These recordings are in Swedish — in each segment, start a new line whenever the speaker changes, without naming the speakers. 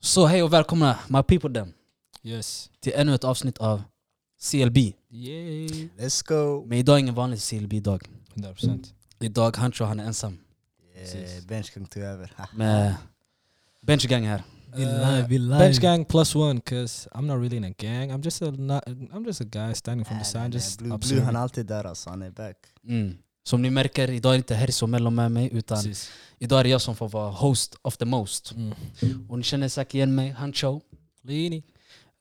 Så hej och välkomna my people them
Yes.
till ännu ett avsnitt av CLB.
Yay.
Let's go!
Men idag är ingen vanlig CLB-dag.
100%.
Idag han tror han är ensam
Precis.
Eh, Bench kung tog över. Ha.
med Bench Gang här. Eh,
Uh, Bench gang plus one, cause I'm not really in a gang. I'm just a not, I'm just a guy standing from
Nej,
the
nej, nej,
side, just
Blue, Blue
observing.
han är alltid där alltså, han är e back.
Mm. Som ni märker, idag är inte Herzo Mello med mig utan
Precis.
idag är det jag som får vara host of the most.
Mm.
Och ni känner säkert igen mig, Hancho,
Lini.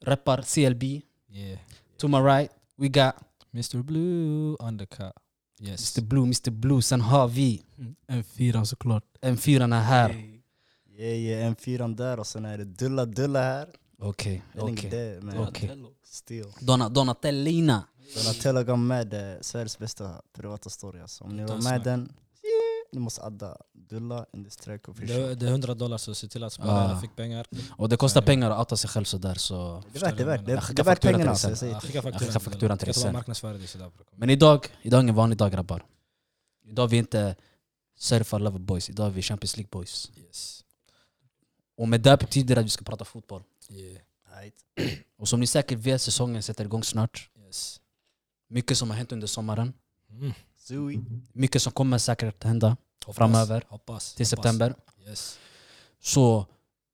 rappar CLB.
Yeah.
To my right, we got
Mr Blue undercut. Yes.
Mr Blue, Mr Blue. Sen har vi
M4 såklart.
M4 här.
Yeah, yeah, M4 där och sen är det Dulla Dulla här.
Okej,
Jag vet inte
okej.
det, men
Okej.
still.
Donna- Donatellina.
Donatello gav med eh, Sveriges bästa privata story alltså. Om ni
Utan
var med
snack.
den, yeah, ni måste adda Dulla in this track official.
Det det är 100 dollar så se till att
Ah.
spararna fick pengar.
Och det kostar
Ja.
pengar att outa sig själv sådär så...
Det är värt, det är värt, det
Jag
är-
skickar
det är värt
fakturan
pengarna
till
alltså.
dig
Jag
Ah,
säger.
Skicka fakturan.
skicka fakturan till dig
Jag kan bara
sen.
marknadsföra dig sådär. bro.
Men idag, idag är ingen vanlig dag grabbar. Idag är vi inte surfar lover boys, idag är vi Champions League boys.
Yes.
Och med det betyder det att vi ska prata fotboll.
Yeah.
Right.
Och som ni säkert vet, säsongen sätter igång snart.
Yes.
Mycket som har hänt under sommaren.
Mm.
Zooey.
Mycket som kommer säkert hända
Hoppas.
Framöver.
Hoppas.
till
Hoppas.
september.
Yes.
Så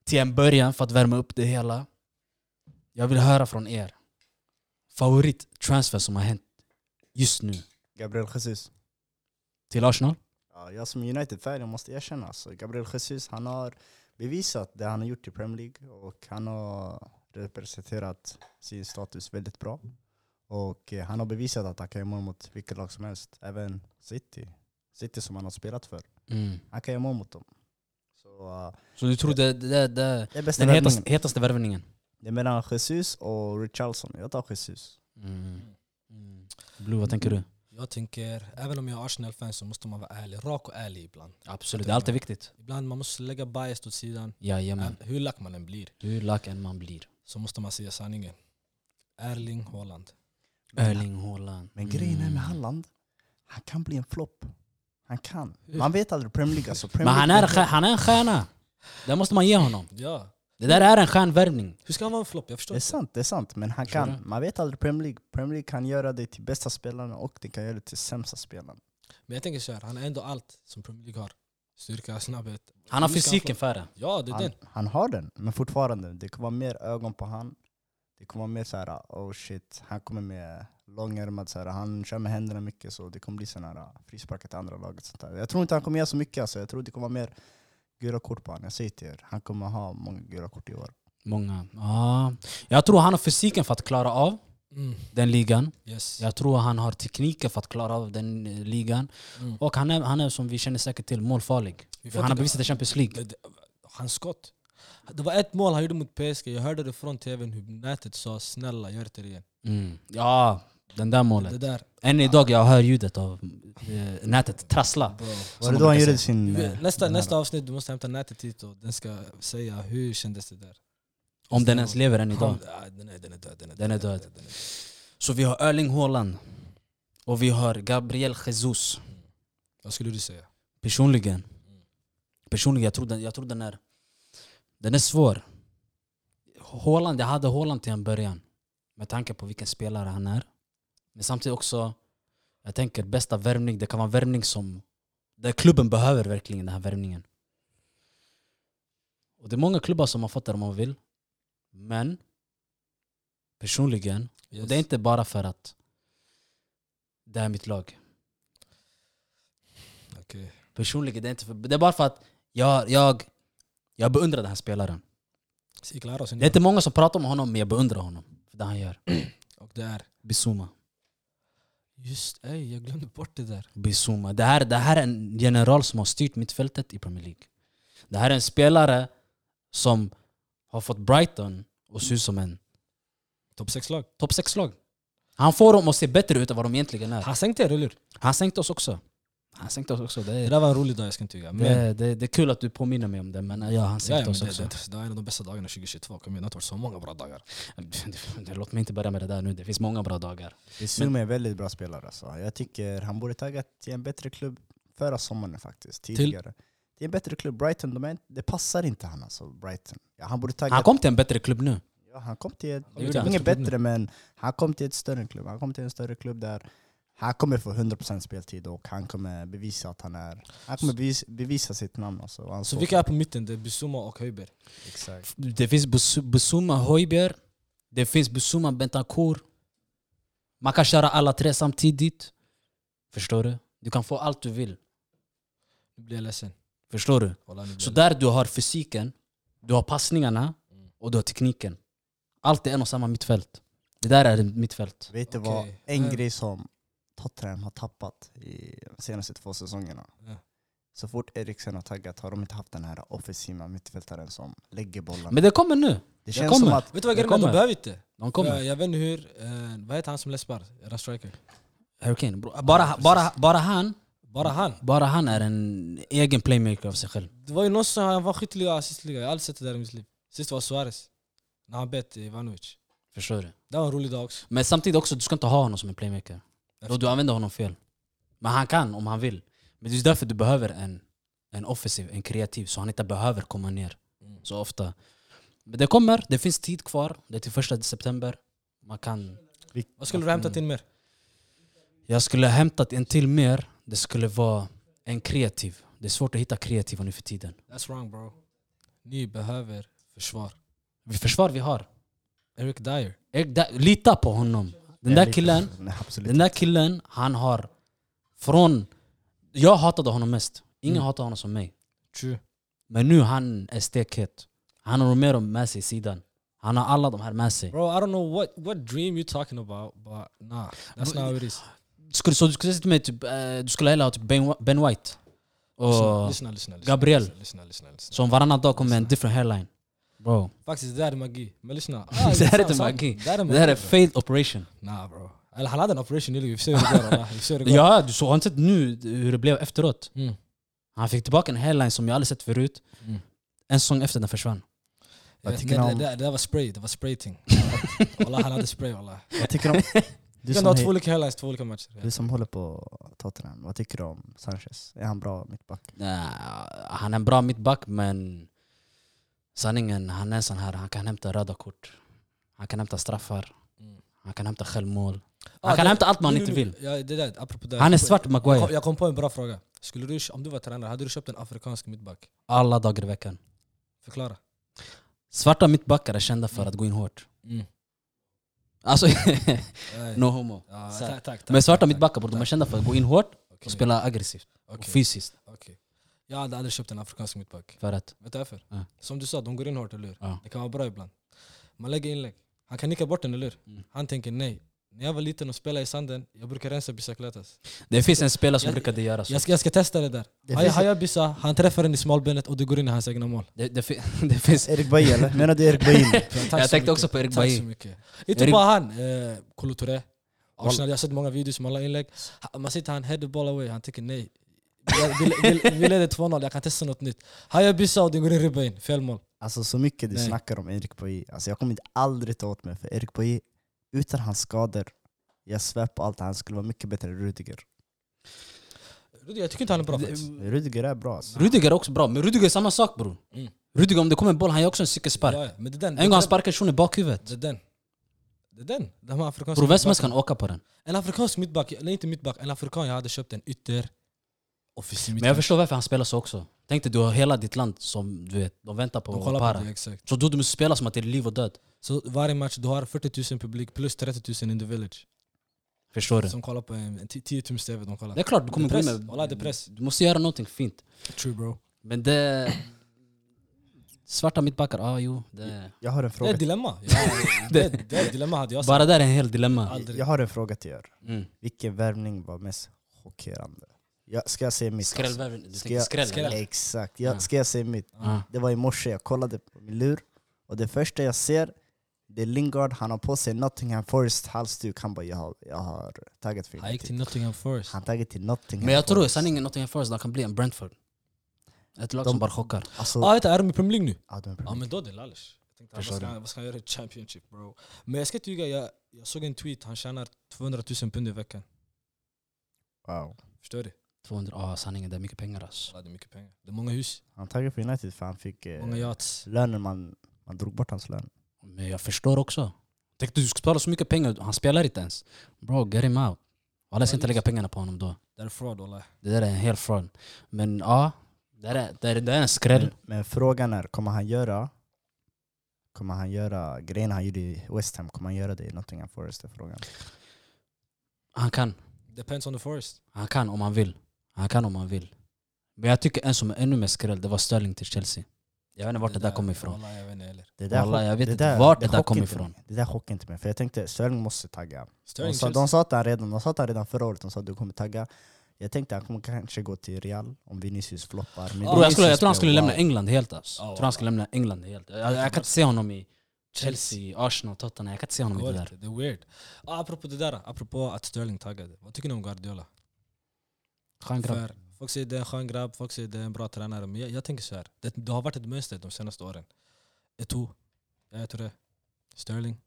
till en början, för att värma upp det hela. Jag vill höra från er. Favorittransfer som har hänt just nu.
Gabriel Jesus.
Till Arsenal?
Ja, jag som United-fan, jag måste erkänna. Alltså, Gabriel Jesus, han har bevisat det han har gjort i Premier League och han har representerat sin status väldigt bra. Och eh, han har bevisat att han kan göra mål mot vilket lag som helst, även City. City som han har spelat för.
Mm.
Han kan göra mål mot dem. Så eh,
Så du tror det, det, det, det
det är bästa
den hetaste,
värvningen.
hetaste värvningen?
Det är mellan Jesus och Richarlison. Jag tar Jesus.
Mm.
Blue, vad tänker du?
Jag tänker, även om jag är Arsenal-fan så måste man vara ärlig. Rak och ärlig ibland.
Absolut, det är alltid viktigt.
Ibland man måste lägga bias åt sidan.
Jajamän.
Ä- Hur lack man än blir
Hur lack en man blir.
så måste man säga sanningen. Erling Haaland.
Erling Haaland.
Men grejen är
Mm.
med Halland, han kan bli en flopp. Han kan. Man vet aldrig Premier League. Alltså, Premier
Men han är, en
League
stjär- han är en stjärna. Det måste man ge honom.
Ja.
Det där är en stjärnvärvning.
Hur ska han vara en flopp? Jag förstår
Det är
inte.
sant, det är sant. Men han
Förstår
kan. Man vet aldrig Premier League. Premier League kan göra dig till bästa spelaren och det kan göra dig till sämsta spelaren.
Men jag tänker så här, han är ändå allt som Premier League har. Styrka, snabbhet.
Han har
Hur ska
fysiken
flopp?
för det.
Ja, det är
Han,
den.
han har den, men fortfarande. Det kommer vara mer ögon på han. Det kommer vara mer så här, oh shit, han kommer med långärmat, så här, han kör med händerna mycket så det kommer bli sån här frisparkar till andra laget. Sånt där. Jag tror inte han kommer göra så mycket, alltså. jag tror det kommer vara mer gula kort på honom. Jag säger till er, han kommer ha många gula kort i år.
Många. Ja. Jag tror han har fysiken för att klara av
Mm.
den ligan.
Yes.
Jag tror han har tekniken för att klara av den eh, ligan.
Mm.
Och han är, han är som vi känner säkert till, målfarlig.
Vi får
Han har
inte-
bevisat i Champions League.
Det- det- Hans skott. Det var ett mål han gjorde mot PSG. Jag hörde det från tvn hur nätet sa snälla gör det igen.
Mm. Ja, den där
Det
målet.
där.
Än idag jag hör ljudet av eh, nätet trassla.
Var det
man
då han
brukar
gjorde sin...
Vi-
eh,
Nästa,
den här-
nästa avsnitt, du måste hämta nätet hit och den ska säga hur kändes det där.
Om den ens lever än idag.
Han- ah, Den är, den är död. Den är död.
Den är död.
den är död.
Så vi har Erling Haaland och vi har Gabriel Jesus.
Vad skulle du säga?
Personligen, personligen jag, tror den, jag tror den är den är svår. Haaland, jag hade Haaland till en början med tanke på vilken spelare han är. Men samtidigt också, jag tänker bästa värvning, det kan vara en värvning som där klubben behöver verkligen den här värvningen. Och det är många klubbar som har fått det om man vill. Men personligen
Yes.
Och det är inte bara för att det här är mitt lag.
Okej.
Personligen, det är, inte för, det är bara för att jag, jag, jag beundrar den här spelaren.
Si claro,
Det är inte många som pratar om honom, men jag beundrar honom. För det han gör.
Och där.
Bissouma.
Just ey, jag glömde bort det där.
Bissouma. Det här, det här är en general som har styrt mittfältet i Premier League. Det här är en spelare som har fått Brighton att se ut som en
Topp 6-lag.
topp 6-lag. Han får dem att se bättre ut än vad de egentligen är.
Han sänkte er, eller hur?
Han sänkte oss också. Han sänkte oss också. Det
Det
är,
där var en rolig dag, jag ska inte ljuga. Men,
det, det, det är kul att du påminner mig om det, men ja, han
ja,
sänkte
ja, men
oss
det,
också.
det, det var en av de bästa dagarna 2022. Kom igen, det har varit så många bra dagar.
Låt mig inte börja med det där nu, det finns många bra dagar.
Bissouma är en väldigt bra spelare. Alltså. Jag tycker han borde taggat till en bättre klubb förra sommaren faktiskt. Tidigare. Till, i en bättre klubb. Brighton, de är, inte- det passar inte han alltså. Brighton. Ja, han borde tagga
Han kom till en bättre klubb nu.
Ja, han kom till ett,
Det gjorde han.
inget bättre men han kom till ett större klubb. Han kom till en större klubb där han kommer få 100% speltid och han kommer bevisa att han är... Han kommer bevis, bevisa sitt namn alltså. Och Han
Så
står
vilka är på mitten? Det är Bissouma och Höjberg.
för- Exakt.
Det finns Bus- Busuma Hoiber, det finns Busuma Bentancur. Man kan köra alla tre samtidigt. Förstår du? Du kan få allt du vill.
Nu blir jag ledsen.
Förstår du?
Wallah, nu blir
Så
jag
där du har fysiken, du har passningarna och du har tekniken. Allt är en och samma mittfält. Det där är ett mittfält.
Vet du
Okej.
vad? En
Nej.
grej som Tottenham har tappat i de senaste två säsongerna.
Ja.
Så fort Eriksen har taggat har de inte haft den här offensiva mittfältaren som lägger bollen.
Men det kommer nu.
det
jag
känns som
kommer.
att...
Vet du vad
Jag
grejen är? De
kommer.
behöver inte.
De
För
kommer.
Jag vet inte hur... eh, Vad heter han som läspar? Era striker.
Hurricane. bro. Bara,
precis.
bara, bara, han,
Bara han.
bara han är en egen playmaker av sig själv.
Det var ju någon som han var skitliga assistliga. Jag har aldrig sett det där i mitt liv. Sist var Suarez. När han bet Ivanovic.
Förstår du?
Det var en rolig dag också.
Men samtidigt också, du ska inte ha honom som en playmaker. Då du använder honom fel. Men han kan om han vill. Men det är därför du behöver en, en offensiv, en kreativ, så han inte behöver komma ner
Mm.
så ofta. Men det kommer, det finns tid kvar. Det är till första september. Man kan...
Vad skulle du ha hämtat in mer?
Jag skulle ha hämtat en till mer. Det skulle vara en kreativ. Det är svårt att hitta kreativa nu för tiden.
That's wrong bro. Ni behöver försvar.
Vi försvar vi har.
Eric Dyer.
Ek- da- Lita på honom. Den där killen,
Nej, absolut.
den där killen, han har från... Jag hatade honom mest. Ingen
Mm.
hatade honom som mig.
True.
Men nu han är stekhet. Han har Romero med sig i sidan. Han har alla de här med sig.
Bro, I don't know what, what dream you talking about, but nah. That's not how it is.
Skulle, så du skulle säga till mig typ, eh, du skulle hellre ha typ ben, ben White.
Lyssna,
Och,
lyssna, lyssna. lyssna
Oh. Gabriel.
Lyssna, lyssna, lyssna, lyssna.
som varannan dag kommer en different hairline. Bro,
Faktiskt, det där är magi. Men lyssna. Ah,
Det här är
sant,
inte
sant.
magi.
Det här är
det här är
bro.
failed operation.
Nah bro. Eller han hade en operation nyligen, vi får se hur det går. va? Vi får se hur det går.
Ja, du såg har inte sett nu hur det blev efteråt.
Mm.
Han fick tillbaka en hairline som jag aldrig sett förut.
Mm.
En säsong efter den försvann.
Vad
Eh,
tycker
nej,
ni om-
det, det, det där var spray, det var sprayting. Wallah han hade spray wallah.
Vad tycker du om... Du
Du kan ha
som,
två
he,
olika highlights, två olika matcher.
du som håller på Tottenham, vad tycker du om Sanchez? Är han bra mittback?
Nah, han är en bra mittback men sanningen, han är en sån här. Han kan hämta röda kort. Han kan hämta straffar.
Mm.
Han kan hämta självmål.
Ah,
Han kan
det-
hämta allt man
nu,
inte
nu,
vill.
Ja, det där, apropå det.
Han är
Jag kom-
svart
Jag kom,
Maguire.
jag kom på en bra fråga. Skulle du, om du var tränare, hade du köpt en afrikansk mittback?
Alla dagar i veckan.
Förklara.
Svarta mittbackar är kända för att gå in hårt.
Mm.
Alltså,
Nej.
no homo.
Ja,
Så
tack,
här.
tack, tack,
Men svarta
tack,
mittbackar bro, de är
tack.
kända för att gå in hårt
Okej,
och spela aggressivt och
okej,
fysiskt.
okej. Jag hade aldrig köpt en afrikansk mittback.
För att
Vet du varför?
Ja.
Som du sa, de går in hårt, eller hur?
Ja.
Det kan vara bra ibland. Man lägger inlägg. Han kan nicka bort den, eller hur?
Mm.
Han tänker nej. När jag var liten och spelade i sanden, jag brukar rensa bicicletas.
det finns en spelare som
Jag-
brukade göra så.
Jag ska, jag ska testa det där.
Det
Har jag,
finns-
har jag bisa, han träffar den i smalbenet och det går in i hans egna mål.
Det, det, fi- det finns...
Erik Bailly eller? Menar du Erik Bailly?
Tack så
Jag tänkte
mycket.
också på Erik
Tack så
Bailly.
mycket. Inte
Erik-
bara han, eh, Kolo Touré. Arsenal, jag har sett många videos med alla inlägg. Ha- Man sitter han head the ball away, han tänker nej. Vi, vi, vi, vi leder 2-0, jag kan testa något nytt. Har jag bisa och den går in i ribban, in. fel mål.
Alltså så mycket du
Nej.
snackar om Erik Boye, alltså jag kommer inte aldrig ta åt mig för Erik Boye, utan hans skador, jag svär på allt, han skulle vara mycket bättre än Rudiger.
Jag tycker inte han är bra faktiskt.
Rudiger är bra alltså.
Rudiger är också bra, men Rudiger är samma sak bror.
Mm.
Rudiger om det kommer en boll, han gör också en cykelspark.
Ja, ja, men det är
En
den.
gång han
det, är
sparkade shunon i bakhuvudet.
den. det är den. Det är den. De här afrikanska
Bror vem som helst
mittbackarna.
kan åka på den.
En afrikansk mittback, eller inte mittback, en afrikan jag hade köpt en ytter. Offensiv
Men jag
mittback.
förstår varför han spelar så också. Tänk dig du har hela ditt land som du vet, de väntar
De
på
kollar
para.
på det, exakt.
Så du, du måste spela som att det är liv och död.
Så varje match, du har 40 000 publik plus 30 000 in the village.
Förstår du?
Som kollar på en en ti- 10 tums tv, de kollar.
Det är klart du kommer
Det
gå
är
in
press.
med...
Wallah, det är press.
Du måste göra någonting fint.
True bro.
Men det... Svarta mittbackar, ja ah, jo. Det...
Jag har en
Det är
fråga,
ett dilemma. Ja, det, det, är ett dilemma hade jag sagt.
Bara där är en hel dilemma.
aldrig.
jag har en fråga till er.
Mm.
Vilken värvning var mest chockerande? Jag, ska jag säga mitt? alltså?
Skrällvärvning. Du
Ska
tänker
jag-
skräll?
skräll.
eller?
Exakt,
Ja.
jag, ska jag säga mitt?
Ja.
Det var i morse, jag kollade på min lur och det första jag ser det är Lingard, han har på sig Nottingham Forest halsduk. Han bara jag har, jag har tagit för
Han gick till
United.
Nottingham Forest.
Han tagit till Nottingham
Men jag tror
Forest.
sanningen Nottingham Forest de kan bli en Brentford. Ett lag
De-
som bara chockar.
Alltså,
Ah, vänta, är de i Premier League nu?
ja, de är
Ja men då är det Lalish. Jag tänkte, Vad
Förstår
ska,
du?
han- vad ska han göra i Championship bro? Men jag ska inte ljuga, jag, jag såg en tweet, han tjänar 200 000 pund i veckan.
Wow.
Förstår du?
200, ja ah, sanningen det är mycket pengar alltså.
Det är mycket pengar. Det är många hus,
Han taggade för United för han fick eh,
många yachts.
lönen, man, man drog bort hans lön.
Men jag förstår också. Tänk du ska betala så mycket pengar, han spelar inte ens. Bro, get him out. Alla ska inte lägga pengarna på honom då.
Det är fraud wallah.
Det där är en hel fraud. Men ja, det där är, det där är, det där är en skräll.
Mm.
Men, men frågan är, kommer han göra Kommer han göra grejerna han gjorde i West Ham, kommer han göra det i Nottingham Forest? Är frågan.
Han kan.
Depends on the forest.
Han kan om han vill. Han kan om han vill. Men jag tycker en som är ännu mer skräll, det var Sterling till Chelsea. Jag vet inte vart det där kommer ifrån.
Wallah, jag vet inte heller.
Det
Wallah,
chock-
jag vet inte vart det där
chockar
kommer
inte
ifrån.
mig. Det där chockar inte mig, för jag tänkte Sterling måste tagga.
Sterling
De sa, de, sa att han redan, de sa att han redan förra året, de sa att du kommer tagga. Jag tänkte han kommer kanske gå till Real om Vinicius floppar. Men
Bro, jag, skulle, jag
Vinicius
tror han skulle
blev
lämna
wow.
England helt alltså.
Ja,
Jag tror han skulle lämna England helt. Jag, jag kan inte se honom i Chelsea, Arsenal, Tottenham. Jag kan inte se honom i
Går
det
inte,
där.
det är weird. Ah, apropå det där, apropå att Sterling taggade. Vad tycker ni om Guardiola?
Skön grabb.
För folk säger det är en skön grabb, folk säger det är en bra tränare. Men jag, jag tänker så här. Det, det har varit ett mönster de senaste åren. Eto'o, jag tror det. Sterling.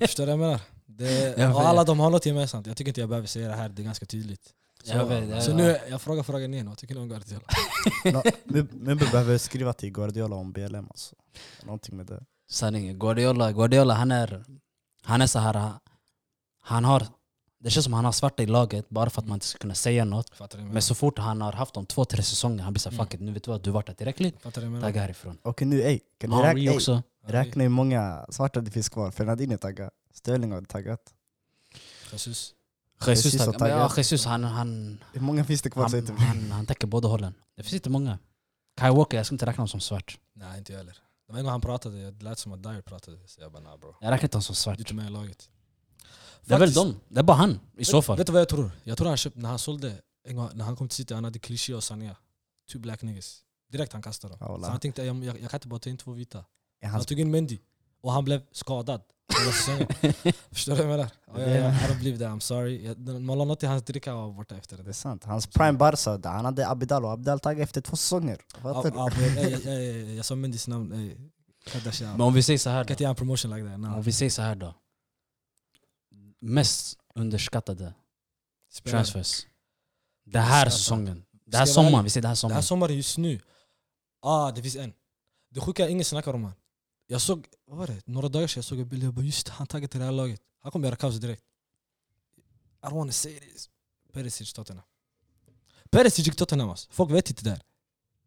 Förstår du vad jag menar? Det,
Jag
och
vet.
alla de har något gemensamt. Jag tycker inte jag behöver säga det här, det är ganska tydligt. Så,
Jag vet, jag
så
vet.
nu, jag frågar frågan igen, vad tycker ni om Guardiola?
Nå- Mub- Mubbe behöver skriva till Guardiola om BLM alltså. Någonting med det.
Sanningen. Guardiola, Guardiola han är, han är så här. Han har, det känns som han har svarta i laget bara för att man inte ska kunna säga något.
Fattar du vad
Men
jag
så fort han har haft dem två, tre säsonger, han blir såhär
Mm.
fuck it, nu vet du vad, du vart där tillräckligt.
menar? Fattar du vad jag menar?
Tagga härifrån.
Och nu, ey, kan ni
Henry
räkna, ey,
också.
räkna hur många svarta det finns kvar? Fernandinho taggar, Sterling har taggat.
Jesus.
Jesus,
Jesus har
taggar. Men ja,
taggat.
Jesus han, han,
Hur många finns det kvar? säg
han,
till mig.
han, han täcker båda hållen. Det finns inte många. Kai Walker, jag skulle inte räkna honom som svart.
Nej, inte jag heller. Det var en gång han pratade, det lät som att Dyer pratade. Så jag bara, nah bro.
Jag räknar inte honom som
Du är
svart.
inte med i laget.
Det är väl
Faktiskt-
dem. Det är bara han i så fall.
Vet du vad jag tror? Jag tror han köpte, när han sålde, en gång, när han kom till City, han hade klyschor och sanningar. Two black niggas. Direkt han kastade dem.
Ja,
Så
wallah.
han tänkte, jag, jag, jag kan inte bara ta in två vita.
Är
Han
hans-
tog in Mendy, och han blev skadad. hela säsongen. Förstår du vad jag menar? Ja, ja, ja, I don't believe that, I'm sorry. Jag- när Man la något i hans dricka och var borta efter
Det är
det.
sant. Hans prime Barca, där han hade Abidal och Abidal taggade efter två säsonger. Fattar
Ja,
du?
ja, men, ey, ey, ey, ey, Jag sa Mendys namn, ey. Kardashian.
Men om vi säger så här
Jag kan
då.
inte göra en promotion like that.
Om
No.
vi säger så här då. Mest underskattade
Spelare.
transfers. Det här
Underskattad.
säsongen. Det här
Ska jag vara
sommaren.
ärlig?
Vi säger det här
Den här
sommaren.
sommaren just nu, ah, det finns en. Det sjuka är ingen snackar om han. Jag såg, vad var det, några dagar sedan jag såg en bild, jag bara just det, han taggade till det här laget. Han kommer göra kaos direkt. I don't wanna say this. Perisic Tottenham. Perisic gick Tottenham alltså. Folk vet inte det där.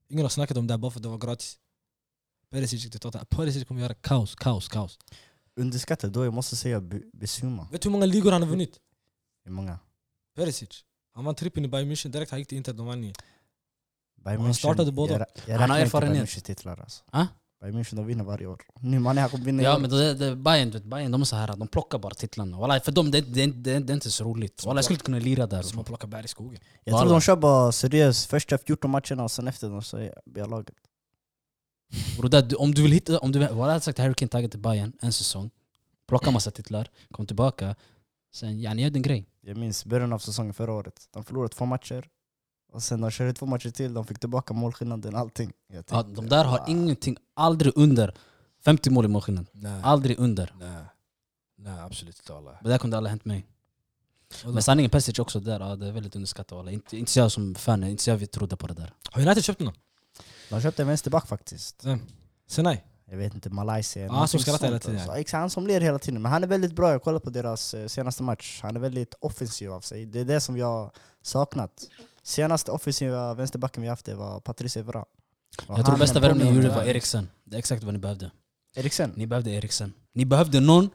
Ingen har snackat om det här bara för att det var gratis. Perisic gick till Tottenham. Perisic kommer göra kaos, kaos, kaos.
Underskattad då, jag måste säga Bu- Bissouma.
Vet du hur många ligor han har vunnit?
Hur många?
Perisic. Han vann trippen i Bayern München direkt, han gick till Inter, de vann ju.
Bayern
Han
München,
startade båda.
Jag,
Han
jag
har
räknar inte Bayern
erfarenhet.
Münchens titlar alltså.
Ah?
Bayern München de vinner varje år. Nu man är kommer vinna i
Ja
år.
men det, det, Bayern, du vet, Bayern de är så här, de plockar bara titlarna. Walla, för dem det, det, det, det är inte så roligt. Walla, jag skulle inte kunna lira där.
Som har plockat bär i skogen.
Jag tror
Walla.
de kör bara seriöst första 14 matcherna och sen efter de så är B-laget.
Bro, där, du- om du vill hitta, om du vill, walla, jag hade sagt Harry Kane taggat till Bayern en säsong. Plocka massa titlar, kom tillbaka. Sen, yani gör din grej.
Jag minns början av säsongen förra året. De förlorade två matcher. Och sen de körde två matcher till, de fick tillbaka målskillnaden och allting. Jag
Ja,
tänkte,
de där har
"Wow."
ingenting, aldrig under 50 mål i målskillnad.
Nej,
Aldrig under.
nej. Nej, absolut inte. wallah.
Det där kunde aldrig hänt mig.
Vadå?
Men sanningen Pesic också där, ja, det är väldigt underskattat. walla. Inte, inte jag som fan, inte jag trodde på det där.
Har United köpt honom?
De köpte en vänsterback faktiskt.
Senai?
Jag vet inte, Malaysia.
han
någonting
som skrattar
sånt
hela tiden.
Alltså. Exakt, han som ler hela tiden. Men han är väldigt bra, jag kollade på deras eh, senaste match. Han är väldigt offensiv av sig. Det är det som jag saknat. Senaste offensiva vänsterbacken vi haft det var Patrice Evra.
Jag tror bästa värvningen ni gjorde var Eriksen. Det är exakt vad ni behövde.
Eriksen.
Ni behövde Eriksen. Ni behövde någon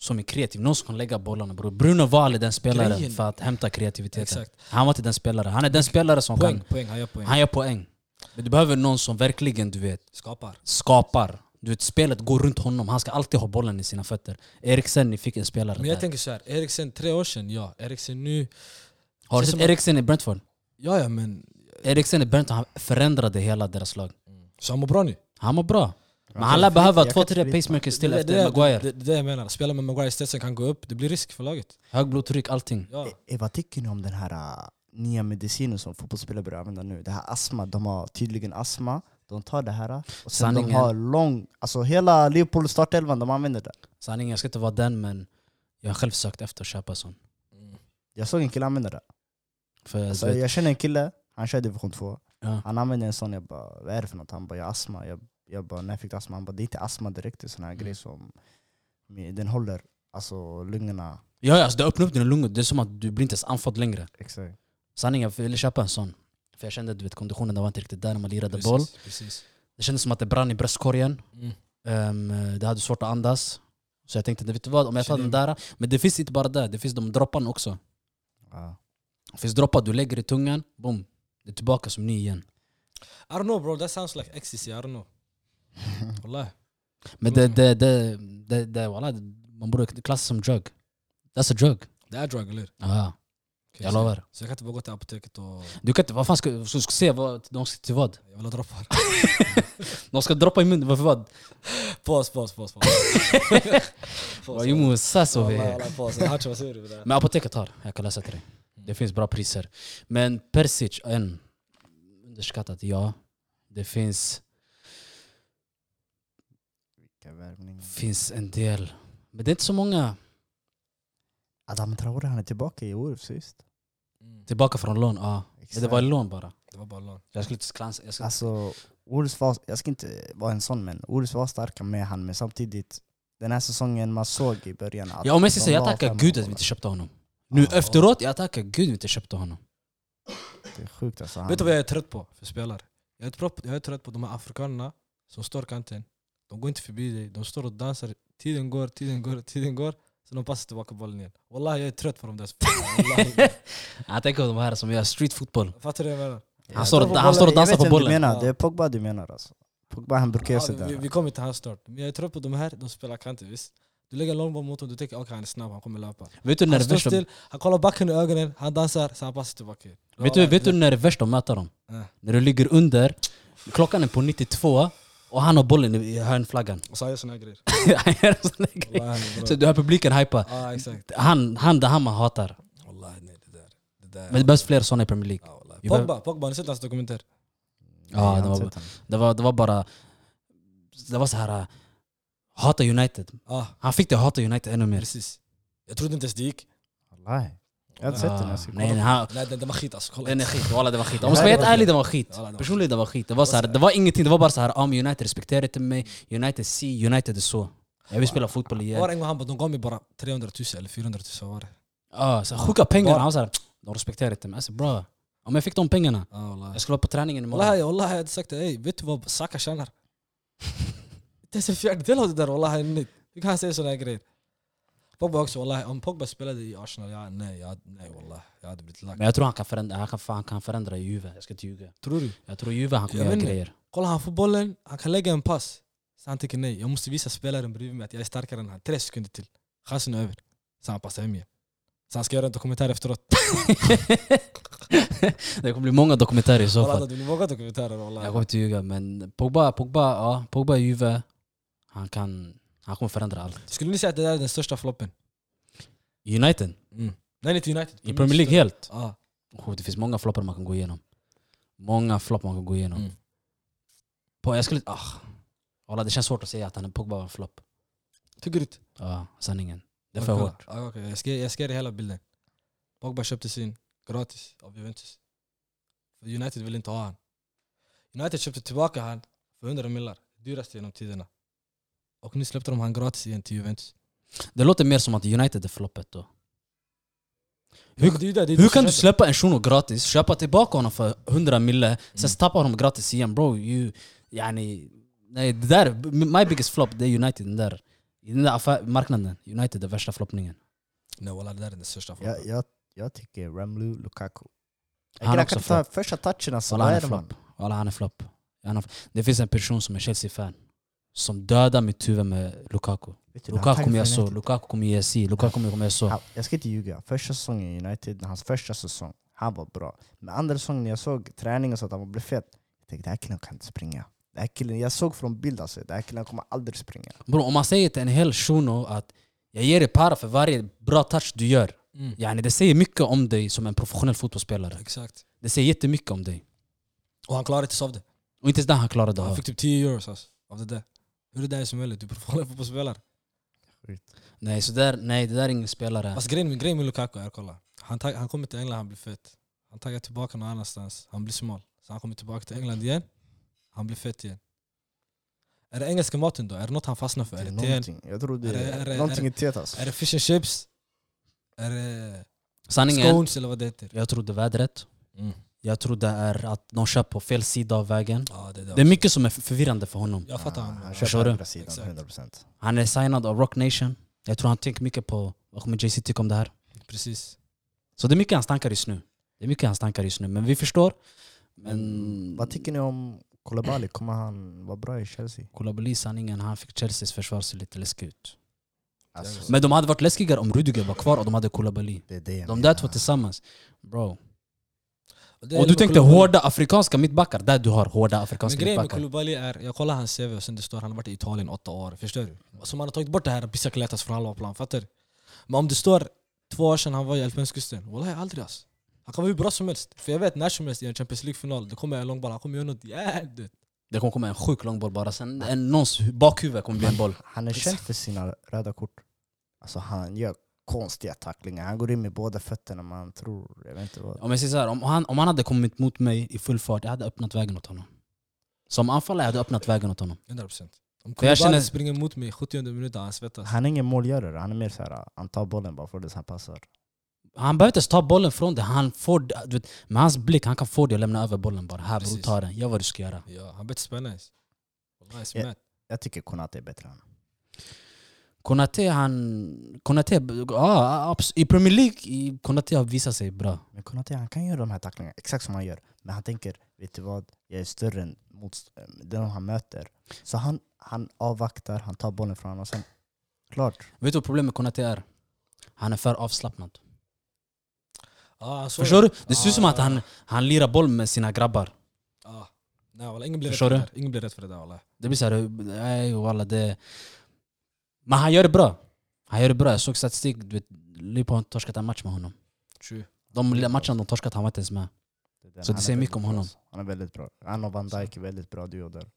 som är kreativ, någon som kan lägga bollarna bror. Bruno Wahl är den spelaren
Grejen-
för att hämta kreativiteten.
Exakt.
Han var inte den spelaren. Han är den spelare som
Poäng,
kan...
poäng, han gör poäng.
Han gör poäng. Men du behöver någon som verkligen, du vet,
Skapar.
skapar. Du vet, spelet går runt honom. Han ska alltid ha bollen i sina fötter. Eriksen, ni fick en spelare
Men jag
där.
tänker så här, Eriksen tre år sedan, ja. Eriksen nu,
Har du
det
sett
som att-
Eriksen i Brentford?
ja ja men.
Eriksen i Brentford, han förändrade hela deras lag.
Så han mår bra nu.
Han mår bra. Men
kan
han lär
inte-
behöva
jag kan
två,
inte
tre
byta.
pacemakers till
det,
efter
det,
Maguire.
det, det är det jag menar. Spela med Maguire i statsen kan gå upp, det blir risk för laget.
Hög blodtryck, allting.
Ja.
Eh, vad tycker ni om den här eh, nya medicinen som fotbollsspelare börjar använda nu? Det här astma, de har tydligen astma. De tar det här eh, och sen de
Sanningen.
har lång... Alltså hela Liverpool startelvan, de använder det.
Sanningen, jag ska inte vara den men jag har själv sökt efter att köpa sån.
Jag såg en kille använda det.
För
Alltså,
du vet,
jag känner en kille, han kör division 2.
ja,
Han använde en sån, jag bara vad är det för något? Han bara jag har astma. Jag, jag bara när jag fick du astma? Han bara det är inte astma direkt, det är sån
Mm.
här grej som den håller alltså lungorna.
ja, ja, alltså, det öppnar upp dina lungor, det är som att du blir inte ens andfådd längre.
Exakt.
Sanningen, jag ville köpa en sån. För jag kände att konditionen den var inte riktigt där när man lirade
Precis,
boll.
Precis.
Det kändes som att det brann i bröstkorgen.
Mm.
Ehm, det hade svårt att andas. Så jag tänkte, vet du vad, om jag tar den där. Men det finns inte bara där, det finns de dropparna också.
Ja.
Det finns droppar du lägger i tungan, boom. Det är tillbaka som ny igen.
I don't know bro, that sounds like ecstasy, I don't know. Wallahi.
Men det, det, det, det, det, voilà, man borde klassa som drug. That's a drug.
Det är drug, eller hur?
Ja,
Okej,
jag
så-
lovar.
Så jag kan inte bara gå till apoteket och...
Du kan inte, vad fan ska, ska, ska se vad, de ska till vad?
Jag vill ha droppar.
De ska droppa i munnen, varför vad?
Paus, paus, paus. paus.
Vad är emot sass och
والله
vi-
والله فاصل هاتش بسوي لي بالله
Men apoteket har, jag kan läsa till dig. Det finns bra priser. Men Persic, en underskattat, ja. Det finns
Vilka värvningar.
finns en del. Men det är inte så många
Adam Traore han är tillbaka i Wolves sist.
tillbaka från lån. Ja. Men det var lån bara.
Mm. Det var bara lån.
Jag skulle inte klansa. Jag skulle...
Alltså, Wolves var, jag ska inte vara en sån men Wolves var starka med han men samtidigt den här säsongen man såg i början att
ja, om jag ska
de
säga, jag
la
tackar
fem
gud att
mål.
vi inte köpte honom. Nu
Ja.
efteråt, jag tackar gud att vi inte köpte honom.
Det är sjukt alltså. Han,
Vet du vad jag är trött på för spelare? Jag är, trött på, jag är trött på de här afrikanerna som står kanten. De går inte förbi dig, de står och dansar. Tiden går, tiden går, tiden går. Sen de passar tillbaka bollen igen. Wallahi jag är trött på de där spelarna. wallahi.
Jag tänker på de här som gör street fotboll.
Fattar du vad jag menar?
han står och-
Jag tror på
han står och
bollen.
dansar
Jag vet
på
vem du
bollen.
Menar.
Ja.
Det är Pogba du menar alltså. Pogba han brukar göra
Ja, vi,
sådär.
vi kommer till hans start. Men jag är trött på de här, de spelar kanter visst. Du lägger en långboll mot honom, du tänker okej han är snabb, han kommer löpa.
Vet du när
Han
det är
står
värst de-
still, han kollar backen i ögonen, han dansar, sen han passar tillbaka.
vet du- vet du när det är värst att möta dem?
Nej.
När du ligger under, klockan är på 92 och han har bollen i- i hörnflaggan.
Och så har jag såna här grejer.
Han gör en sån här grej.
Wallahi, bro.
Så du har publiken hypa.
Ja exakt.
Han, han, det han man hatar.
Wallahi nej det där. Det där.
Men det behövs fler såna i Premier League.
ja, wallahi.
Vi
Pogba, Pogba, har ni sett hans dokumentär?
Ja, det
Nej, jag har inte
var-
sett honom.
Det var, det var bara... Det var så här... äh, Hata United.
Ja,
Han fick dig att hata United ännu mer.
precis. Jag trodde inte ens det gick.
Wallahi. Jag har inte sett den. Jag ska
Ah, nej,
kolla.
nej, han,
Nej den, den var skit alltså, kolla.
den är skit. Walla, det var skit. Om
Ja,
jag ska
det
vara helt
var
ärlig,
skit.
det var skit.
Walla, det var
Personligen, det var skit. Det var, så här, det var ingenting. Det var bara så här, om United respekterar inte mig, United si, United är så. Jag vill spela fotboll igen.
Var en gång han bara, de gav mig bara 300 000 eller 400 000 vad var det?
Ah, så här, sjuka pengar.
Var-
Han var så här, de respekterar inte mig. Alltså bra. Om jag fick de pengarna,
Ja wallahi.
jag skulle vara på träningen imorgon.
Wallahi, wallahi jag hade sagt ey, vet du vad Saka tjänar? Inte ens en fjärdedel av det där wallahi. nej. Hur kan han säga sådana grejer? Pogba också wallahi, om Pogba spelade i Arsenal, ja, nej, ja, nej wallahi. Jag hade blivit lack.
Men jag tror han kan förändra, han kan, han kan förändra i Juve. Jag ska inte ljuga.
Tror du?
Jag tror Juve han kommer
Jag
göra
vet inte.
grejer.
Kolla han får bollen, han kan lägga en pass. Så han tänker nej, jag måste visa spelaren bredvid mig att jag är starkare än han. Tre sekunder till. Chansen är över. Så han passar hem igen. Så han ska göra en dokumentär efteråt.
Det kommer bli många dokumentärer i så fall.
Walla, Det blir många dokumentärer
Jag
wallahi.
kommer inte ljuga men Pogba, Pogba, ja, Pogba i Juve, han kan, han kommer förändra allt.
Skulle ni säga att det där är den största floppen?
United,
Nej, inte United.
Mm. i Premier League helt.
Ja.
Oh, det finns många floppar man kan gå igenom. Många floppar man kan gå igenom.
Mm.
På, jag skulle, ah, Walla, det känns svårt att säga att han är Pogba var en flopp.
Tycker du inte?
Ja, sanningen. Det är för
Kolla.
hårt.
Ja, okej. Jag, ska, jag ska ge dig hela bilden. Pogba köpte sin gratis av Juventus. För United ville inte ha han. United köpte tillbaka han för 100 millar. Dyraste genom tiderna. Och nu släppte de han gratis igen till Juventus.
Det låter mer som att United är floppet då.
Ja,
Hur,
det är ju det, det är
hur
som
kan du
köper.
släppa en shuno gratis, köpa tillbaka honom för 100 mille,
Mm.
sen tappa honom gratis igen bro? You, yani, nej, det där, my biggest flop det är United, den där, i den där affär, marknaden. United är värsta floppningen.
Nej walla, det där är den största frågan.
Jag, jag, jag tycker Ramlu Lukaku. Jag
Han
kan
är
inte
också
ta första touchen alltså.
Walla,
Vad
han
är
är
det man?
flopp. Walla, han är flopp. Han är flopp. Det finns en person som är Chelsea-fan som dödar mitt huvud med Lukaku.
Vet du, han
Lukaku
taggade
kommer göra
för
så,
United.
Lukaku kommer göra si, Lukaku kommer göra så.
Han- Jag ska inte ljuga. Första säsongen i United, hans första säsong, han var bra. Men andra säsongen när jag såg träning och så att han blev fet. Jag tänkte den här killen kan inte springa. Den här killen, jag såg från bild alltså, den här killen kommer aldrig springa.
Bro, om man säger till en hel shuno att jag ger dig para för varje bra touch du gör.
Mm.
Yani, det säger mycket om dig som en professionell fotbollsspelare.
Exakt.
Det säger jättemycket om dig.
Och han klarade inte sig av det.
Och inte ens det han klarade
Han
av.
fick typ 10 euros alltså, av det där. Hur är det där som möjligt? Du är professionell fotbollsspelare.
Nej, så där, nej, det där är ingen spelare.
Alltså, Fast grejen, grejen med Lukaku är, kolla. Han, tag- han kommer till England, han blir fet. Han taggar tillbaka någon annanstans. Han blir smal. Så han kommer tillbaka till England igen. Han blir fett igen. Är det engelska maten då? Är det något han fastnar för?
Det
Är
är
det te?
någonting. Jag tror det
Är det- är
är,
det-
någonting i teet alltså.
Är det fish and chips? Är det
Sanningen,
scones eller vad det heter?
jag tror det är vädret.
Mm.
Jag tror det är att någon kör på fel sida av vägen.
Ja, det,
Det är mycket som är förvirrande för honom.
Jag fattar
han,
honom.
han
Han,
Förstår
köper
du?
andra sidan,
Exakt.
100%.
Han är signad av Rock Nation. Jag tror han tänker mycket på vad kommer JC tycka om det här.
Precis.
Så det är mycket hans tankar just nu. Det är mycket hans tankar just nu. Men vi förstår. Men
Mm,
Men vad tycker ni om Koulibaly? Kommer han vara bra i Chelsea?
Kolobali sanningen, han fick Chelseas försvar se lite läskigt ut.
Alltså,
Men de hade varit läskigare om Rudiger var kvar och de hade Kolobali.
det är det jag
De där
menar.
två tillsammans. Bro.
det är
Och du
med
tänkte
Koulibaly.
hårda afrikanska mittbackar. Där du har hårda
Men
afrikanska
grejen med
mittbackar.
Koulibaly är, jag kollar hans CV och sen det står han har varit i Italien åtta år. Förstår du? Som han har tagit bort det här bicicletas från halva plan, fattar du? Men om det står två år sedan han var i Elfenbenskusten, wallahi aldrig ass. Han kan vara hur bra som helst. För jag vet när som helst i en Champions League-final, det kommer en lång boll, han kommer göra något jävligt.
Det kommer komma en sjuk lång boll bara. Sen en, någons bakhuvud kommer bli en boll.
Han är känd för sina röda kort. Alltså han gör konstiga tacklingar. Han går in med båda fötterna man tror, jag vet inte vad.
Om jag säger så här, om han, om han hade kommit mot mig i full fart, jag hade öppnat vägen åt honom. Som anfallare hade jag öppnat vägen åt honom.
100%. Om
För jag
Koulibaly
känner-
springer mot mig i 70 minuten, han svettas.
alltså-
Han är ingen målgörare, han är mer såhär, han tar bollen bara för det han passar.
Han behöver inte ens ta bollen från dig. Han får, du vet, med hans blick han kan få dig att lämna över bollen bara. Här, bror,
Precis.
ta den. Gör vad du ska göra.
Ja, han bete spänna. Wallahi,
Ja.
smärt.
Jag tycker Konate är bättre än honom.
Konate, han... Konate, ja, abs- I Premier League i Konate har visat sig bra.
Men Konate han kan göra de här tacklingarna, exakt som han gör. Men han tänker, vet du vad? Jag är större än motst- eh, den han möter. Så han, han avvaktar, han tar bollen från honom och sen, klart.
Vet du vad problemet med Konate är? Han är för avslappnad.
Ah, han såg
Förstår
det.
du? Det ser ut som att han, han lirar boll med sina grabbar.
Ah. Nej, wallah, ingen blir rätt
Förstår
för det
du?
där. Ingen blir rätt för det där wallah.
Det blir såhär, nej walla det... Men han gör det bra. Han gör det bra. Jag såg statistik, du vet, Liverpool har inte torskat en match med honom.
True.
De matcherna de torskat, han var inte ens med.
den-
Så det
han är
säger mycket
väldigt
om
bra,
honom.
alltså. Han är väldigt bra. Han och Van Dijk är väldigt bra duo där.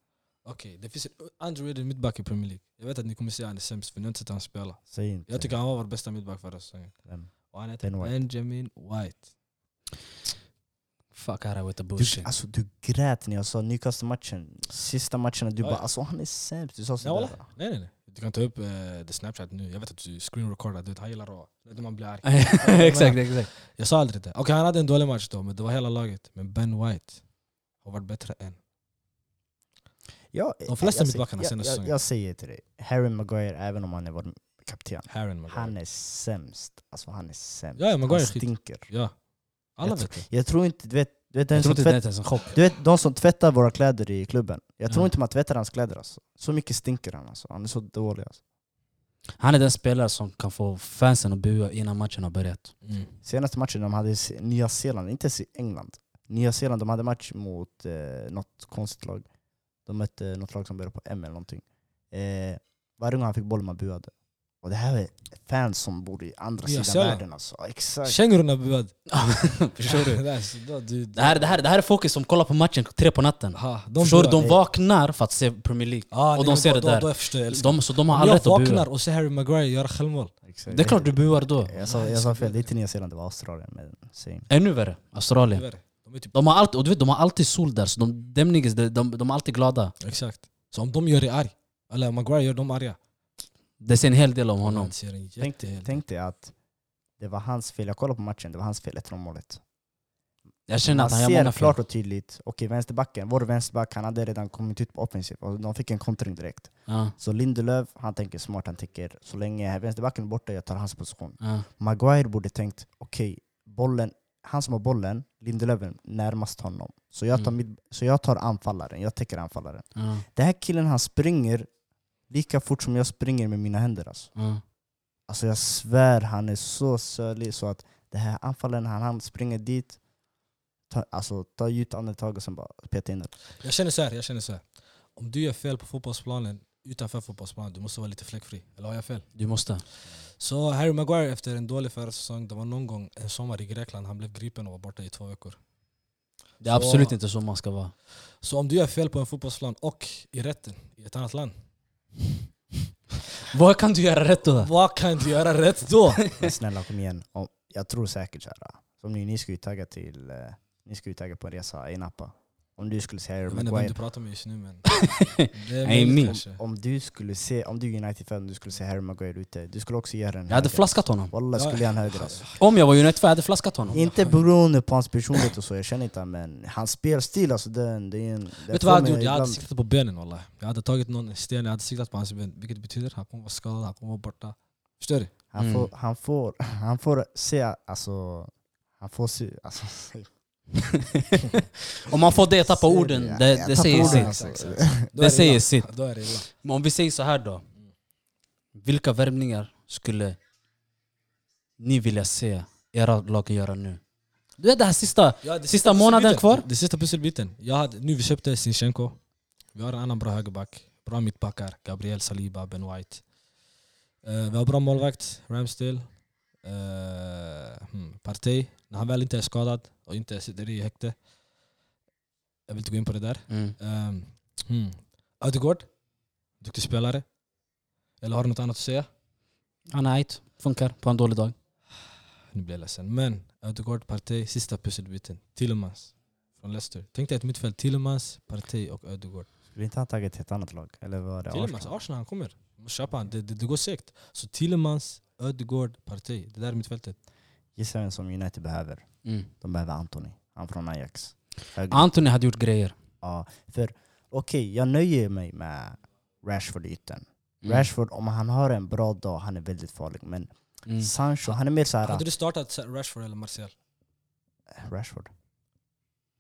Okej, det finns en underrated mittback i Premier League. Jag vet att ni kommer säga att han är sämst för ni har inte sett honom spela.
Säg inte.
Jag tycker han var vår bästa mittback förra säsongen.
Vem?
Och han heter
Ben White.
Benjamin White.
Fuck out with the
Du,
bullshit.
alltså, du grät när jag sa Newcastle-matchen, sista matchen, och du
Ja,
bara
ja.
alltså han är sämst. Du sa
Ja,
sådär.
wallah. Nej nej nej. Du kan ta upp eh, det Snapchat nu. Jag vet att du screen recordar. Du vet, han gillar att... Du vet när man blir arg.
exakt, exakt.
Jag sa aldrig det. Okej, han hade en dålig match då, men det var hela laget. Men Ben White har varit bättre än.
Ja,
De flesta
jag- jag-
mittbackarna
jag-
senaste
jag-
säsongen.
Jag säger till dig, Harry Maguire, även om han är vår kapten,
Harry Maguire.
han är sämst. Alltså han är sämst.
Ja, ja, Maguire är
han
skit.
stinker.
Ja. Alla
Jag
vet det.
Jag tror inte, du vet, du vet, den
Jag tror
som
inte det är
tvätt,
ens en chock. Mm.
du vet de som tvättar våra kläder i klubben, jag tror
Ja.
inte man tvättar hans kläder alltså. Så mycket stinker han alltså. Han är så dålig alltså.
Han är den spelare som kan få fansen att bua innan matchen har börjat.
Mm.
Senaste matchen de hade i Se- Nya Zeeland, inte Se- England. Nya Zeeland, de hade match mot eh, något konstigt lag. De mötte något lag som började på M eller någonting. Eh, varje gång han fick bollen man buade. Och det här är fans som bor i andra
Nya
sidan
Zeeland.
världen alltså. Ja, Exakt.
Kängurun har buad.
Förstår du?
Det här är så- då- du-
Det här, det, här, det här är folket som kollar på matchen tre på natten.
Ha,
Förstår du?
buar.
De vaknar för att se Premier League.
Ah,
och
nej,
de ser
då-
det
då-
där.
Då, jag förstår, jag älskar.
De, så de har
Om
all
jag
rätt att
vaknar
bua.
och ser Harry Maguire göra självmål.
Exakt.
Det är klart du buar då.
Jag sa, jag sa fel, det är inte Nya Zeeland, det var Australien. Men same.
Ännu värre. Australien.
Tyvärr. De är typ,
De har, alltid, och du vet, de har alltid sol där, så de, dem niggas, de, de, de är alltid glada.
exakt. Så om de gör dig arg, eller Maguire gör dem arga.
Det säger en hel del om
Man
honom.
ser en
Tänk,
jättehel-
tänk dig att det var hans fel, jag kollade på matchen, det var hans fel efter målet.
Jag känner
Man
att han gör
ser
många fel.
klart och tydligt, okej vänsterbacken, vår vänsterback han hade redan kommit ut på offensiv och de fick en kontring direkt.
Ja,
Så Lindelöf, han tänker smart, han tänker så länge vänsterbacken är borta, jag tar hans position.
ja.
Maguire borde tänkt, okej, bollen, han som har bollen, Lindelöf är närmast honom. Så jag tar,
Mm.
mitt, så jag tar anfallaren, jag täcker anfallaren.
Ja,
Den här killen han springer lika fort som jag springer med mina händer alltså.
ja.
Alltså jag svär, han är så sölig så att det här anfallen, han, han springer dit, ta, alltså tar djupt andetag och sen bara petar in den.
Jag känner så här, jag känner så här. Om du gör fel på fotbollsplanen, utanför fotbollsplanen, du måste vara lite fläckfri. Eller har jag fel?
Du måste.
Så Harry Maguire efter en dålig förra säsong, det var någon gång en sommar i Grekland, han blev gripen och var borta i två veckor.
Det är
Så-
absolut inte så man ska vara.
Så om du gör fel på en fotbollsplan och i rätten, i ett annat land,
Vad kan du göra rätt då?
vad kan du göra rätt då?
Men snälla kom igen, om, jag tror säkert såhär, Som ni, ni ska ju tagga till, eh, ni ska ju tagga på en resa i Napa. Om du skulle se
Jag
Harry
vet inte vem
Maguire,
du pratar med just nu men...
Ey, min.
kanske.
om du skulle se, om du är United-fan du skulle se Harry Maguire ute, du skulle också göra en
Jag hade
höger.
flaskat honom.
Wallah
Ja,
skulle jag en höger alltså.
Om jag var United-fan, jag hade flaskat honom.
Inte beroende på hans personlighet och så, jag känner inte han, men hans spelstil alltså den, det är en... den
Vet du vad
får
jag hade
mig
gjort? Jag hade
ibland-
siktat på benen wallah. Jag hade tagit någon sten, jag hade siktat på hans ben. Vilket betyder att han kommer vara skadad, han kommer vara borta. Förstår du?
Han,
Mm.
får, han, får, han får se, alltså... Han får se, alltså...
Om man får det, jag tappar
Ser
orden.
det,
Det,
jag
det
tappar
säger
orden. alltså.
sitt.
Exakt, exakt. Alltså, Då är
Det säger
illa.
sitt.
Då är det illa.
Men om vi säger så här då. Vilka värvningar skulle ni vilja se era lag göra nu? Du vet det här sista.
Ja, det
Sista månaden
pusselbiten.
kvar.
Det sista pusselbiten. Jag hade, nu vi köpte Sinchenko. Vi har en annan bra högerback. Bra mittbackar. Gabriel Saliba, Ben White. Eh, vi har bra målvakt. Ramsdale. Uh, hmm, Partey. När han väl inte är skadad och inte sitter i häkte. Jag vill inte gå in på det där.
Mm.
Um, hmm. Ödegård. Duktig spelare. Eller har du något annat att säga?
Han är ett, funkar på en dålig dag.
Nu blir jag ledsen. Men Ödegaard, Partey, sista pusselbiten. Tillemans från Leicester. Tänk dig ett mittfält. Tillemans, Partey och Ödegaard.
Skulle inte han tagit till ett annat lag? Eller var det
Tillemans,
Arsenal?
Arsenal, han kommer. Vi måste köpa han. Det, det, det går segt. Så Tillemans, Ödegaard, Partey. Det där är mittfältet.
Gissa vem som United behöver?
Mm.
De behöver Anthony. Han från Ajax. Höger.
Anthony hade gjort grejer.
Ja, för okej, jag nöjer mig med Rashford i ytan.
Mm.
Rashford, om han har en bra dag, han är väldigt farlig. Men
Mm.
Sancho, han är mer såhär...
Hade du startat Rashford eller Martial?
Rashford.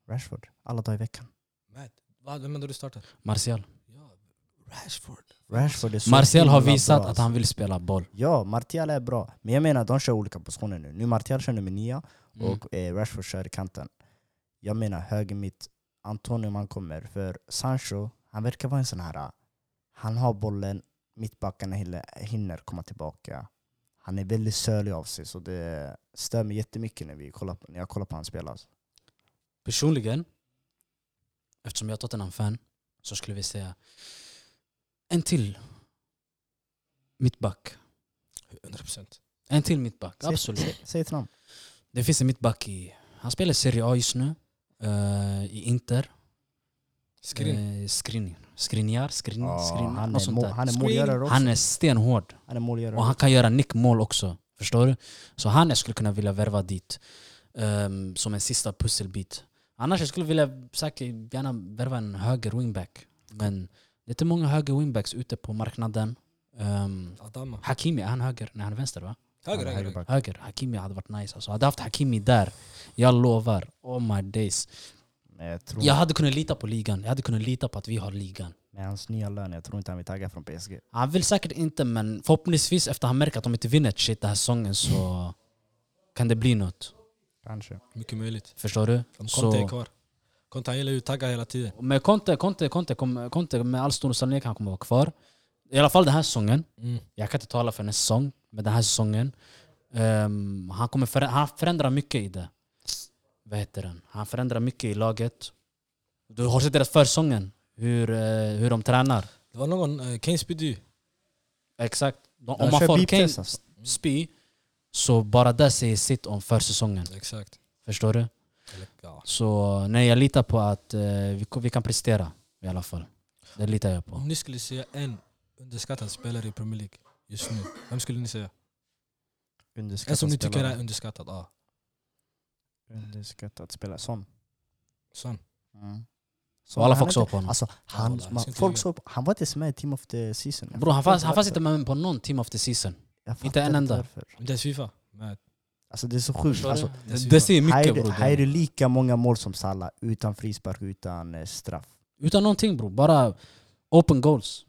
Rashford. Alla dagar i veckan.
Matt, vad- Vem hade du startat?
Martial.
Ja, Rashford.
Rashford är så
Martial har
himla
visat
bra, alltså.
att han vill spela boll.
Ja, Martial är bra. Men jag menar, de kör olika positioner nu. Nu Martial kör nummer nia
Mm.
och eh, Rashford kör i kanten. Jag menar höger mitt. Antonio man kommer. För Sancho, han verkar vara en sån här... ah, Han har bollen, mittbackarna hinner- hinner komma tillbaka. Han är väldigt sörlig av sig, så det stör mig jättemycket när, vi kollar, på- när jag kollar på hans spel. Alltså.
Personligen, eftersom jag är Tottenham-fan, så skulle vi säga en till mittback.
100%.
En till mittback,
Säg-
absolut.
Säg, säg ett namn.
Det finns en mittback i... Han spelar i Serie A just nu. eh, I Inter.
Skrin.
Eh, Skrin. Skriniar? Skrin,
Ja,
Skrin,
han,
något
är
Mm, sånt
mål,
där.
han är
Screen.
målgörare också.
Han är stenhård.
Han är målgörare.
Och han kan göra nickmål också. Förstår du? Så han jag skulle kunna vilja värva dit. ehm, som en sista pusselbit. Annars jag skulle vilja säkert gärna värva en höger wingback. Men det är inte många höger wingbacks ute på marknaden. Ehm,
Adama.
Hakimi, är han höger? Nej, han är vänster va?
Höger, höger. höger.
högerback.
Höger, Hakimi hade varit nice alltså. Hade jag haft Hakimi där, jag lovar. Oh my days.
Men jag tror,
Jag hade kunnat lita på ligan. Jag hade kunnat lita på att vi har ligan.
Med hans nya lön, jag tror inte han vill tagga från PSG.
Han vill säkert inte men förhoppningsvis efter han märker att de inte vinner ett shit den här säsongen så kan det bli något.
Kanske.
Mycket möjligt.
Förstår du?
Om Conte är
Så,
kvar. Conte han gillar ju att tagga hela tiden.
men Conte, Conte, Conte, kom- Conte med all stor sannolikhet han kommer vara kvar. I alla fall den här säsongen.
Mm.
Jag kan inte tala för en säsong, men den här säsongen. ehm, han, kommer förä- han förändrar mycket i det. Vad heter den? Han förändrar mycket i laget. Du har sett deras försäsongen, hur, eh, hur de tränar.
Det var någon, uh, Keynes Biddy.
Exakt. De, om
Han
man
kör
får
beep
Kane
test alltså.
spy, så bara det säger sitt om försäsongen.
Exakt.
Förstår du?
Eller, ja.
Så nej, jag litar på att eh, vi, ko- vi kan prestera i alla fall. Det litar jag på.
Om ni skulle säga en underskattad spelare i Premier League just nu, vem skulle ni säga? En
Underskattad
Alltså,
som ni tycker
spelare.
är underskattad? Ja.
Underskattad spelare. Son.
Sån.
Mm.
Så alla
han
folk
är
såg
inte-
på honom.
Alltså, han,
Wallah, jag ska
man,
inte
folk
ljuga.
såg på, han var inte ens med i Team of the Season. Jag
Bro, han
fattar
fanns, han fanns inte
varför.
med på någon team of the season.
Jag fattar
inte en enda.
varför.
Inte ens Fifa? Nej.
Alltså det är så sjukt. Alltså,
det, det säger
här,
mycket
är, det-
bror.
här är det lika många mål som Salah, utan frispark, utan eh, straff.
Utan någonting bror, bara open goals.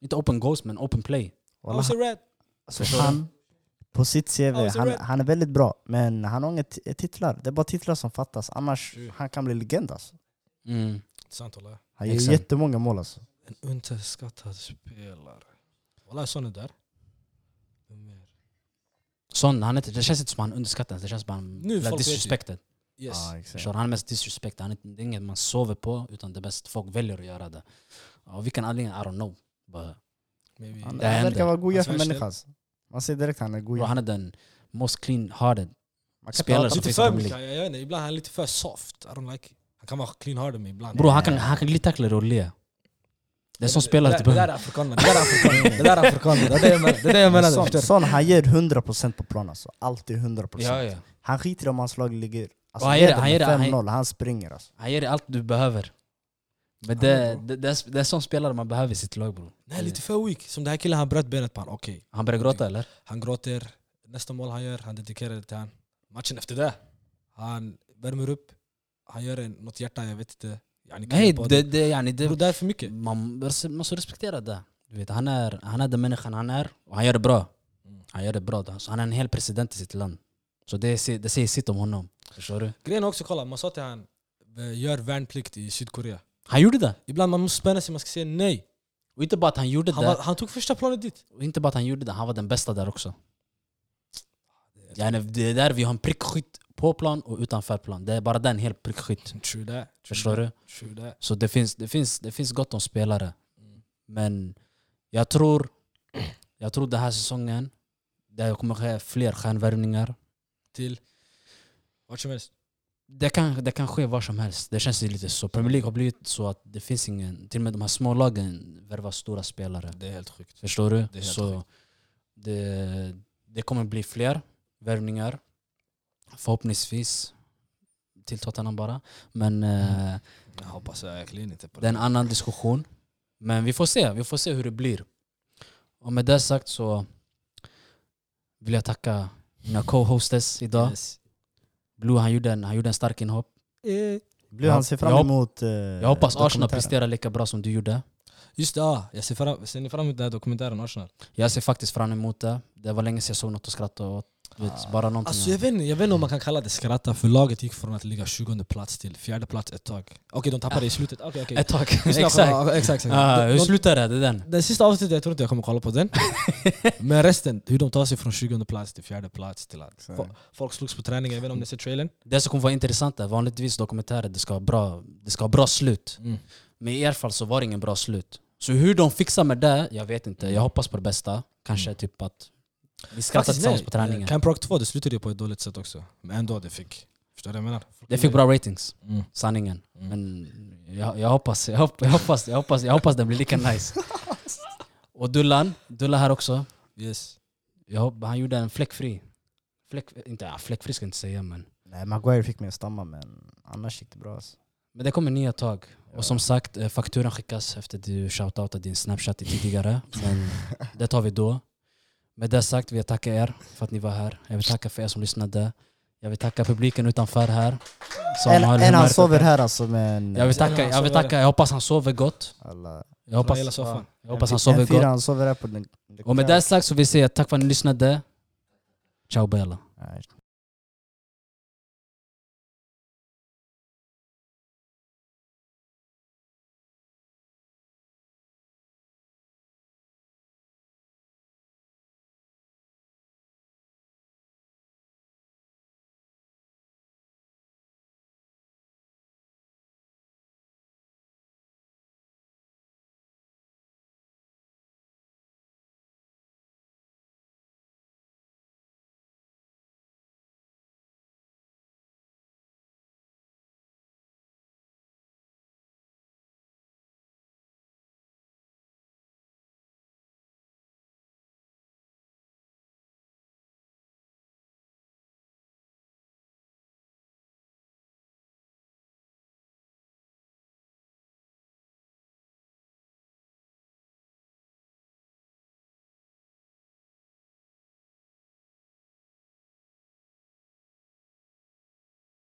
Inte open goals men open play.
Wallah,
How's it red?
alltså,
Förstår du?
han, på sitt CV,
How's it
han,
red?
han är väldigt bra, men han har inga t- titlar. Det är bara titlar som fattas, annars
True.
han kan bli legend alltså.
Mm.
Sant wallah.
Han gör
Exakt.
jättemånga mål alltså.
En underskattad spelare. Wallah, sån är där. Vem mer?
Sån, han är, inte- det känns inte som han underskattas, det känns bara han
Nu,
blir
folk vet ju.
disrespected.
Yes.
Ja, exakt.
Förstår du? Han är mest disrespected, han är, inte- det är inget man sover på utan det är bäst folk väljer att göra det. Av vilken anledning, I don't know. Bara,
Maybe.
Han,
Det
han
händer.
verkar vara god
Hans
för
värsta-
Oh, människa. alltså. Man ser direkt att han är god
bror, han är den most clean hearted
Man kan
Spelare
inte
som
hata
Lite
finns
på
i
för
Premier
mycket,
League.
jag jag vet inte. Ibland är han lite för soft. I don't like it. Han kan vara clean harder med ibland.
Bro, han kan, han kan glidtackla Rolé. Det är som spelare
Det där- det där
typ.
är afrikaner. Det där är afrikaner. Det där är afrikaner. Det är det jag menar. Det är det jag menade.
Son,
förstår du?
son, han ger 100% på plan alltså. Alltid 100%.
Ja, ja.
Han skiter i om hans lag ligger alltså,
Och han ger det-
leder
han ger
med
det- han-
5-0, han springer alltså.
Han ger dig allt du behöver. Men
Ja, det
det,
är
det, det, är, det är som spelare man behöver i sitt lag bro.
Nej, lite för weak. Som den här killen, han bröt benet på han. Okej.
Han börjar gråta eller?
Han gråter. Nästa mål han gör, han dedikerar det till han. Matchen efter det, han värmer upp. Han gör en, något hjärta, jag vet inte. Yani,
Nej,
kan
det, det, yani,
Bro,
det,
det är för mycket.
man måste- måste respektera det. Du vet, han, är, han är den människan han är och han gör det bra.
Mm.
Han gör det bra. då. Så han är en hel president i sitt land. Så det, se- det säger sitt om honom. Förstår du?
Grejen är också, kolla, man sa till han eh, gör värnplikt i Sydkorea.
Han gjorde det.
Ibland man måste spänna sig, man ska säga nej.
Och inte bara att han gjorde
Han,
det.
var, han tog första planet dit.
Och inte bara att han gjorde det, han var den bästa där också. Yani, det är där vi har en prickskytt på plan och utanför plan. Det är bara den hel prickskytt.
True that. True
Förstår
that,
du?
True that.
Så det finns, det finns, det finns gott om spelare.
Mm.
Men jag tror, jag tror den här säsongen, det kommer ske fler stjärnvärvningar.
Till vart som helst.
Det kan, det kan ske var som helst. Det känns ju lite så. Premier League har blivit så att det finns ingen... Till och med de här små lagen värvar stora spelare.
Det är helt sjukt.
Förstår
Det
du?
är helt
Så det, det kommer bli fler värvningar. Förhoppningsvis. Till Tottenham bara. Men eh,
Jag hoppas verkligen inte på
det är en annan diskussion. Men vi får se. Vi får se hur det blir. Och med det sagt så vill jag tacka mina co-hostess idag.
Yes.
Blue han gjorde, en, han gjorde en stark inhopp.
Eh.
Blir
Ja,
han ser fram
jag-
emot... eh,
Jag hoppas Arsenal
dokumentären.
presterar lika bra som du gjorde.
Just det, ah, jag ser fram, ser ni fram emot den här dokumentären Arsenal?
Jag ser faktiskt fram emot det. Det var länge sedan jag såg något att skratta åt. Du vet, bara någonting.
Alltså, jag, vet, inte- jag vet inte om man kan kalla det skratta, för laget gick från att ligga 20 plats till fjärde plats ett tag. Okej, de tappade i slutet. Okej, okej.
Ah. Ett tag.
Lyssna,
Exakt.
ja, exakt, exakt.
Ah,
De-
hur
de-
slutar det? Det är den.
Den sista avsnittet, jag tror inte jag kommer kolla på den. Men resten, hur de tar sig från 20 plats till fjärde plats till att
Så.
fo- folk slogs på träningen, jag vet inte om ni ser trailern?
Det som kommer vara intressant är vanligtvis dokumentärer, det ska ha bra, det ska ha bra slut.
Mm.
Men i er fall så var det ingen bra slut. Så hur de fixar med det, jag vet inte. Jag hoppas på det bästa. Kanske typ att vi skrattar tillsammans på träningen.
Eh, Camp Rock 2, det slutade ju på ett dåligt sätt också. Men ändå, det fick... Förstår du vad jag menar?
Det fick bra ratings,
Mm.
sanningen.
Mm.
Men jag, jag, hoppas, jag, hop- jag, hoppas, jag, hoppas, jag hoppas det blir lika nice. Och Dullan, Dullan här också.
Yes.
Jag, hopp- han gjorde en fläckfri. Fläck, inte, ja, fläckfri ska jag inte säga men.
Nej, Maguire fick mig att stamma men annars gick det bra alltså.
Men det kommer nya tag.
Ja.
Och som sagt, eh, fakturan skickas efter du shoutoutade din snapchat tidigare. Men det tar vi då. Med det sagt vill jag tacka er för att ni var här. Jag vill tacka för er som lyssnade. Jag vill tacka publiken utanför här. som
En,
har
en han
humör.
sover här alltså men...
Jag vill tacka,
Han
jag vill
sover.
tacka, jag hoppas han sover gott.
Alla,
Jag hoppas,
hela soffan.
jag hoppas han
en
sover
fyra,
gott.
han sover här på den...
Och med det sagt så vill jag säga tack för att ni lyssnade. Ciao Bella.
Nej,